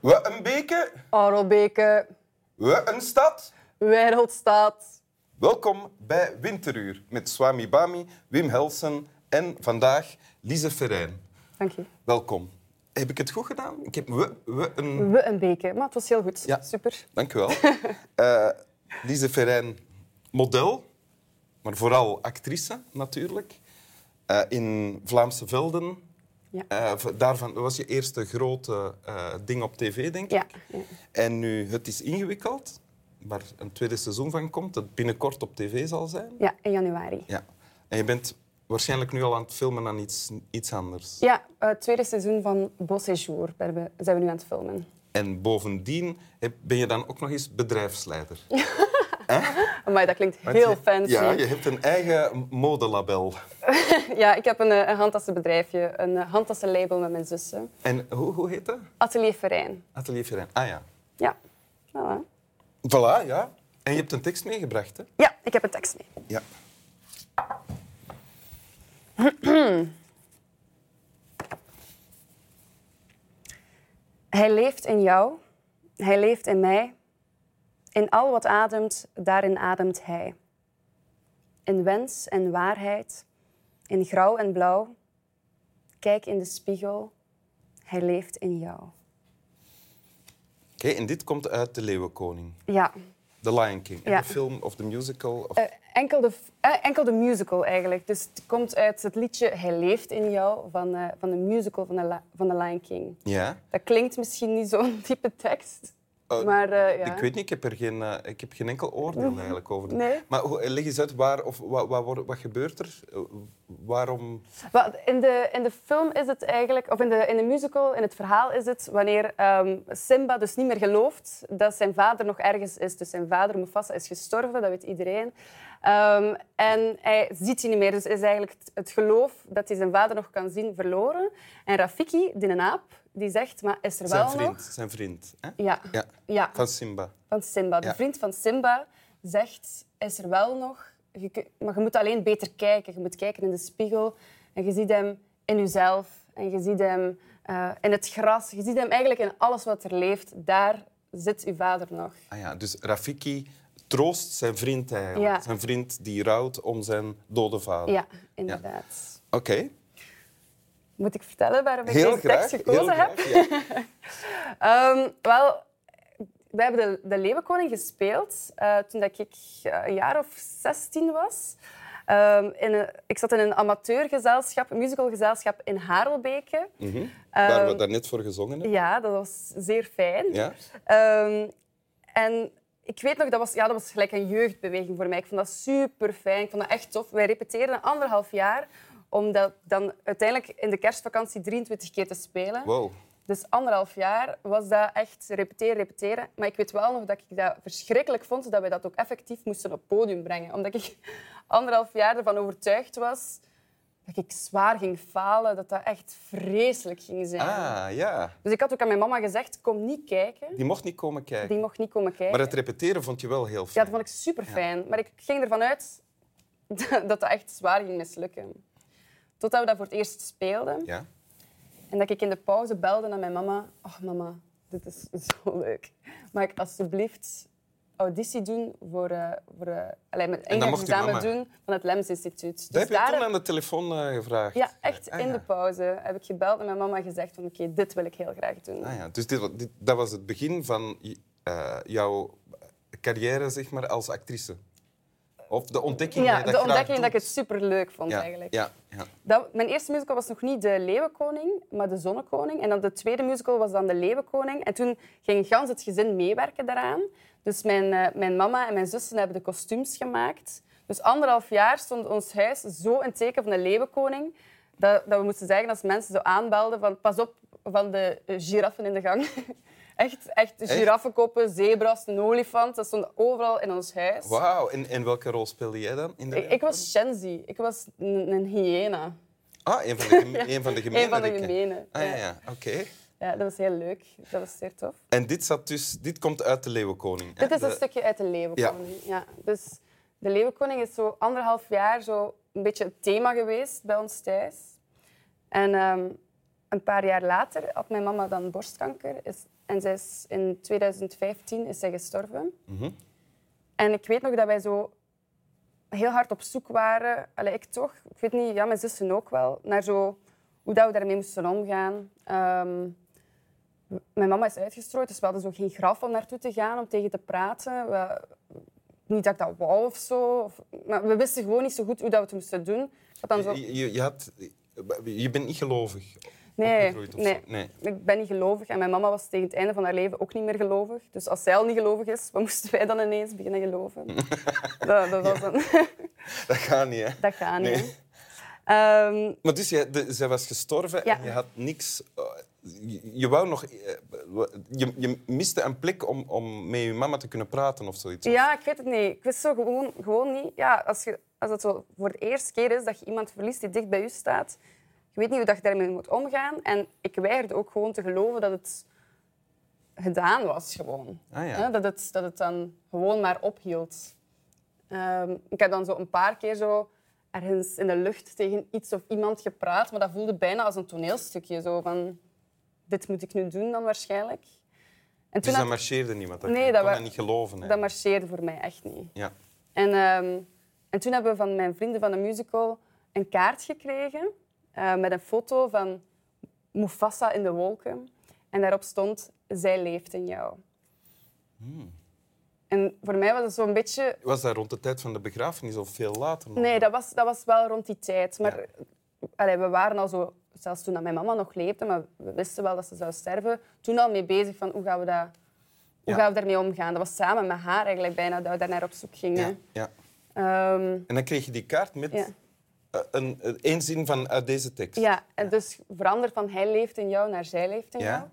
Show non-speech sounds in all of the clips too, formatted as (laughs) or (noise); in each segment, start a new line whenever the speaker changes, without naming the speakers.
We een beke,
Arlbeke,
we een stad.
Wereldstaat.
Welkom bij Winteruur met Swami Bami, Wim Helsen en vandaag Lise Ferrein.
Dank je.
Welkom. Heb ik het goed gedaan? Ik heb we, we een...
We een beken, maar het was heel goed.
Ja.
Super.
Dank u wel. Eh, Lise Ferrein, model, maar vooral actrice natuurlijk. Eh, in Vlaamse velden.
Ja.
Eh, v- daarvan was je eerste grote eh, ding op tv, denk ik.
Ja, ja.
En nu Het is ingewikkeld, waar een tweede seizoen van komt, dat binnenkort op tv zal zijn.
ja, in januari.
Ja. En je bent waarschijnlijk nu al aan het filmen aan iets, iets anders.
Ja, eh, het tweede seizoen van Beau Séjour ben we- zijn we nu aan het filmen.
En bovendien heb- ben je dan ook nog eens bedrijfsleider.
(laughs) Maar dat klinkt
Want
heel
je-
fancy.
Ja, je hebt een eigen modelabel.
(laughs) Ja, ik heb een, eh, een handtassenbedrijfje, een eh, handtassenlabel met mijn zussen.
En hoe, hoe heet dat?
Atelier Ferijn.
Atelier Ferrein. Ah ja.
Ja. Voilà.
Voilà, ja. En je hebt een tekst meegebracht, hè?
Ja, ik heb een tekst mee.
Ja.
Hij leeft in jou, hij leeft in mij. In al wat ademt, daarin ademt hij. In wens en waarheid, in grauw en blauw. Kijk in de spiegel, hij leeft in jou.
Oké, en dit komt uit De Leeuwenkoning.
Ja,
The Lion King. En
Ja.
de film of de musical. Of...
eh, enkel, de, f- eh, enkel de musical eigenlijk. Dus het komt uit het liedje Hij leeft in jou van, eh, van de musical van de, La- van de Lion King.
Ja.
Dat klinkt misschien niet zo'n (laughs) diepe tekst,
Eh,
maar eh, ja.
Ik weet niet, ik heb er geen, eh, ik heb geen enkel oordeel eigenlijk over. dit.
Nee.
Maar hoe- leg eens uit, waar, of, wat, wat, wordt- wat gebeurt er? Eh, Waarom?
Wel, In de, in de film is het eigenlijk, of in de, in de musical, in het verhaal is het wanneer ehm, Simba dus niet meer gelooft dat zijn vader nog ergens is. Dus zijn vader Mufasa is gestorven, dat weet iedereen. Ehm, en hij ziet hij niet meer, dus is eigenlijk het, het geloof dat hij zijn vader nog kan zien verloren. En Rafiki, die een aap, die zegt, maar is er wel
Zijn vriend.
nog?
Zijn vriend. Hè?
Ja,
Ja.
ja,
Van Simba.
van Simba. De
Ja.
vriend van Simba zegt, is er wel nog, je kun- maar je moet alleen beter kijken. Je moet kijken in de spiegel en je ziet hem in jezelf en je ziet hem eh, in het gras. Je ziet hem eigenlijk in alles wat er leeft. Daar zit uw vader nog.
Ah ja, dus Rafiki troost zijn vriend eigenlijk.
Ja.
Zijn vriend die rouwt om zijn dode vader.
Ja, inderdaad.
Oké,
Moet ik vertellen waarom ik
heel
deze
graag.
tekst gekozen
heel
heb?
graag, ja.
(laughs) Ehm, wel, we hebben de, de Leeuwenkoning gespeeld eh, toen dat ik eh, een jaar of 16 was. Ehm, in een- ik zat in een amateurgezelschap, een musicalgezelschap in Harelbeke.
Mhm. Waar
Ehm,
we daarnet voor gezongen
(laughs)
hebben.
Ja, dat was zeer fijn.
Ja.
Ehm, en ik weet nog, dat was, ja, dat was gelijk een jeugdbeweging voor mij. Ik vond dat super fijn. Ik vond dat echt tof. Wij repeteerden anderhalf jaar om dat dan uiteindelijk in de kerstvakantie 23 keer te spelen.
Wow.
Dus anderhalf jaar was dat echt repeteren, repeteren. Maar ik weet wel nog dat ik dat verschrikkelijk vond dat we dat ook effectief moesten op het podium brengen. Omdat ik (laughs) anderhalf jaar ervan overtuigd was dat ik zwaar ging falen, dat dat echt vreselijk ging zijn.
Ah, ja.
Dus ik had ook aan mijn mama gezegd, kom niet kijken.
Die mocht niet komen kijken.
Die mocht niet komen kijken.
Maar het repeteren vond je wel heel
Ja,
fijn.
dat vond ik super fijn. Maar ik ging ervan uit (laughs) dat dat echt zwaar ging mislukken. Totdat we dat voor het eerst speelden.
Ja.
En dat ik in de pauze belde naar mijn mama. Oh mama, dit is (laughs) zo leuk. Mag ik alsjeblieft auditie doen voor, eh voor eh, allee, mijn
mocht uw
examen
mama.
doen van het LEMS Instituut. Dus
Dat heb je
daar
toen
heb-
aan de telefoon eh, gevraagd?
Ja, echt
Ah,
in
ja.
de pauze heb ik gebeld en mijn mama gezegd van oké, dit wil ik heel graag doen.
Ah, ja. Dus dit, wa- dit- dat was het begin van eh, jouw carrière zeg maar, als actrice? Of de ontdekking
Ja,
dat je
de
dat graag
ontdekking dat ik
doet?
het super leuk vond
ja.
eigenlijk.
Ja, ja.
Dat, mijn eerste musical was nog niet de Leeuwenkoning, maar de Zonnekoning. En dan de tweede musical was dan de Leeuwenkoning. En toen ging gans het gezin meewerken daaraan. Dus mijn, eh, mijn mama en mijn zussen hebben de kostuums gemaakt. Dus anderhalf jaar stond ons huis zo in het teken van de Leeuwenkoning... Dat, dat we moesten zeggen als mensen zo aanbelden van... Pas op van de eh, giraffen in de gang. (laughs) echt, echt giraffenkoppen, zebras, een olifant. Dat stond overal in ons huis.
Wauw. En, en welke rol speelde jij dan? In de
Ik, ik was Shenzi. Ik was een, een hyena.
Ah, een van de,
(laughs)
gem- een van de gemene.
Een van de
rikken.
gemene.
Ah, ja,
ja.
ja. oké.
Ja, dat was heel leuk. Dat was zeer tof.
En dit, zat dus, dit komt uit de Leeuwenkoning. hè?
Dit is een
De-
stukje uit de Leeuwenkoning. Ja. Dus de Leeuwenkoning is zo anderhalf jaar zo een beetje het thema geweest bij ons thuis. En ehm, een paar jaar later had mijn mama dan borstkanker. Is, en zij is in 2015 is zij gestorven. En ik weet nog dat wij zo heel hard op zoek waren. Allee, ik toch. Ik weet niet, ja, mijn zussen ook wel. Naar zo hoe dat we daarmee moesten omgaan. Ehm, mijn mama is uitgestrooid, dus we hadden zo geen graf om naartoe te gaan, om tegen te praten. We, niet dat ik dat wou of zo. Of, maar we wisten gewoon niet zo goed hoe dat we het moesten doen. Ik had dan zo...
Je, je, je hebt, je bent niet gelovig.
Nee,
opgegroeid of
nee.
zo. nee. (laughs)
Ik ben niet gelovig en mijn mama was tegen het einde van haar leven ook niet meer gelovig. Dus als zij al niet gelovig is, wat moesten wij dan ineens beginnen
(laughs)
geloven? dat, dat, was een, (laughs)
Dat gaat niet, hè?
dat gaat niet.
Nee.
hè. Ehm,
Maar dus, jij, de- zij was gestorven
Ja.
en je had niks... eh, je, je wou nog... eh, Je, je miste een plek om, om met je mama te kunnen praten of zoiets.
ja, ik weet het niet. Ik wist zo gewoon, gewoon niet. Ja, als, je, als het zo voor de eerste keer is dat je iemand verliest die dicht bij u staat, je weet niet hoe dat je daarmee moet omgaan. En ik weigerde ook gewoon te geloven dat het gedaan was. Gewoon.
Ah, ja.
Hè, dat, het, dat het dan gewoon maar ophield. Ehm, ik heb dan zo een paar keer zo ergens in de lucht tegen iets of iemand gepraat, maar dat voelde bijna als een toneelstukje. Zo van, dit moet ik nu doen dan waarschijnlijk. En toen
Dus dat
had-
marcheerde niet, want dat
Nee,
je
dat
kon
wa-
dat niet geloven. hè.
dat marcheerde voor mij echt niet.
Ja.
En, ehm, en toen hebben we van mijn vrienden van de musical een kaart gekregen eh, met een foto van Mufasa in de wolken. En daarop stond, zij leeft in jou.
Hmm.
En voor mij was het zo'n beetje...
Was dat rond de tijd van de begrafenis of veel later? nog?
Nee, dat was, dat was wel rond die tijd. Maar allee, we waren al zo, zelfs toen dat mijn mama nog leefde, maar we wisten wel dat ze zou sterven, toen al mee bezig van hoe gaan we, dat,
Ja.
hoe gaan we daarmee omgaan. Dat was samen met haar eigenlijk bijna dat we daar naar op zoek gingen.
Ja, ja.
Ehm,
En dan kreeg je die kaart met
Ja.
eh, een, een- één zin van uit deze tekst.
Ja, en dus veranderd van hij leeft in jou naar zij leeft in
Ja.
jou.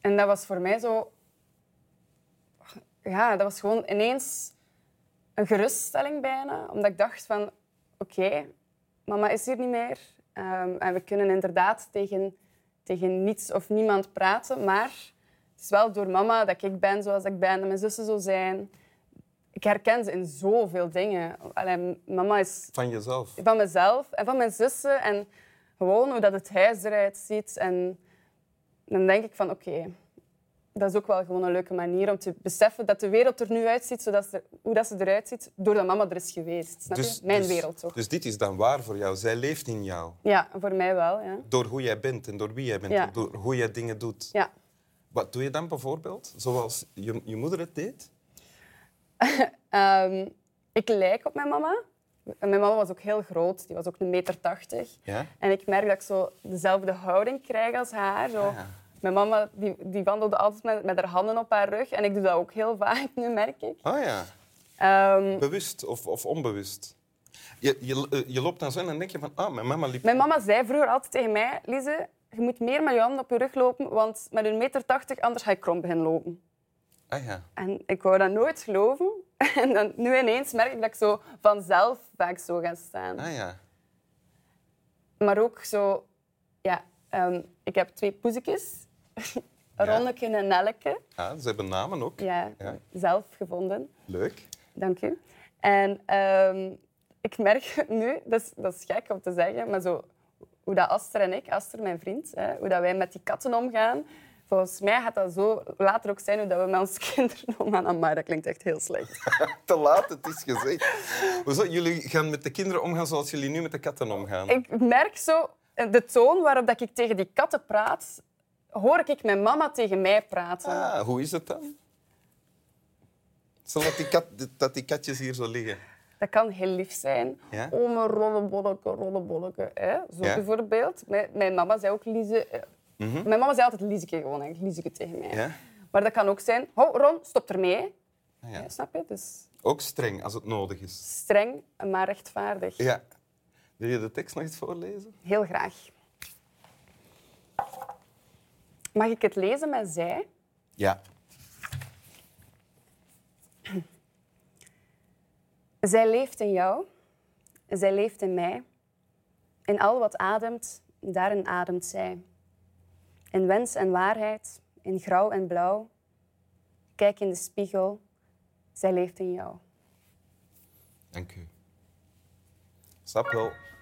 En dat was voor mij zo... Ja, dat was gewoon ineens een geruststelling bijna. Omdat ik dacht van, oké, mama is hier niet meer. Ehm, en we kunnen inderdaad tegen, tegen niets of niemand praten. Maar het is wel door mama dat ik ben zoals ik ben. En mijn zussen zo zijn. Ik herken ze in zoveel dingen. Allee, mama is
Van jezelf.
van mezelf en van mijn zussen. En gewoon hoe dat het huis eruit ziet. En dan denk ik van, oké, dat is ook wel gewoon een leuke manier om te beseffen dat de wereld er nu uitziet, zodat ze, hoe dat ze eruit ziet, doordat mama er is geweest. Snap je? Mijn wereld toch?
Dus dit is dan waar voor jou. Zij leeft in jou.
Ja, voor mij wel. Ja.
Door hoe jij bent en door wie jij bent.
Ja.
en Door hoe jij dingen doet.
ja.
Wat doe je dan bijvoorbeeld? Zoals je, je moeder het deed?
Ehm, ik lijk op mijn mama. En Mijn mama was ook heel groot, die was ook een meter tachtig.
Ja?
En ik merk dat ik zo dezelfde houding krijg als haar. Zo.
Ah.
Mijn mama die, die wandelde altijd met, met haar handen op haar rug. En ik doe dat ook heel vaak, nu merk ik.
Oh ja.
Ehm,
Bewust of, of onbewust? Je, je, eh, je loopt dan zo en dan denk je van, ah, mijn mama liep...
mijn mama zei vroeger altijd tegen mij... Lize, je moet meer met je handen op je rug lopen, want met een meter tachtig, anders ga je krom beginnen lopen.
Ah ja.
En ik wou dat nooit geloven. (laughs) En dan, nu ineens merk ik dat ik zo vanzelf vaak zo ga staan.
Ah ja.
Maar ook zo... Ja, ehm, ik heb twee (laughs) poezetjes. Ronneke en Nelleke.
Ah, ze hebben namen ook.
Ja,
Ja.
zelf gevonden.
Leuk. (laughs)
Dank u. En ehm, ik merk (laughs) nu, dat is, dat is gek om te zeggen, maar zo, hoe dat Aster en ik, Aster mijn vriend, hè, hoe dat wij met die katten omgaan. Volgens mij gaat dat zo later ook zijn hoe dat we met onze (laughs) kinderen omgaan. Maar dat klinkt echt heel slecht.
(laughs) Te laat, het is gezegd. Hoezo? Jullie gaan met de kinderen omgaan zoals jullie nu met de katten omgaan.
Ik merk zo eh, de toon waarop dat ik tegen die katten praat, hoor ik mijn mama tegen mij praten.
Ah, hoe is het dan? Zodat die, kat, dat die katjes hier zo liggen.
Dat kan heel lief zijn.
Ja.
Oh, mijn rollenbolleke, rollenbolleke. Hè? Zo
Ja. Mhm.
bijvoorbeeld. Mijn, mijn mama zei ook Lize... eh, Mijn mama zei altijd Lieseke gewoon, eigenlijk. Lieseke tegen mij.
Ja?
Maar dat kan ook zijn... Ho, Ron, stop ermee.
Ah,
Ja.
ja.
snap je? Dus
Ook streng, als het nodig is.
streng, maar rechtvaardig.
Ja. Wil je de tekst nog eens voorlezen?
Heel graag. Mag ik het lezen met zij?
Ja.
Zij leeft in jou. Zij leeft in mij. In al wat ademt, daarin ademt zij. In wens en waarheid, in grauw en blauw. Kijk in de spiegel. Zij leeft in jou.
Dank u. Snap wel.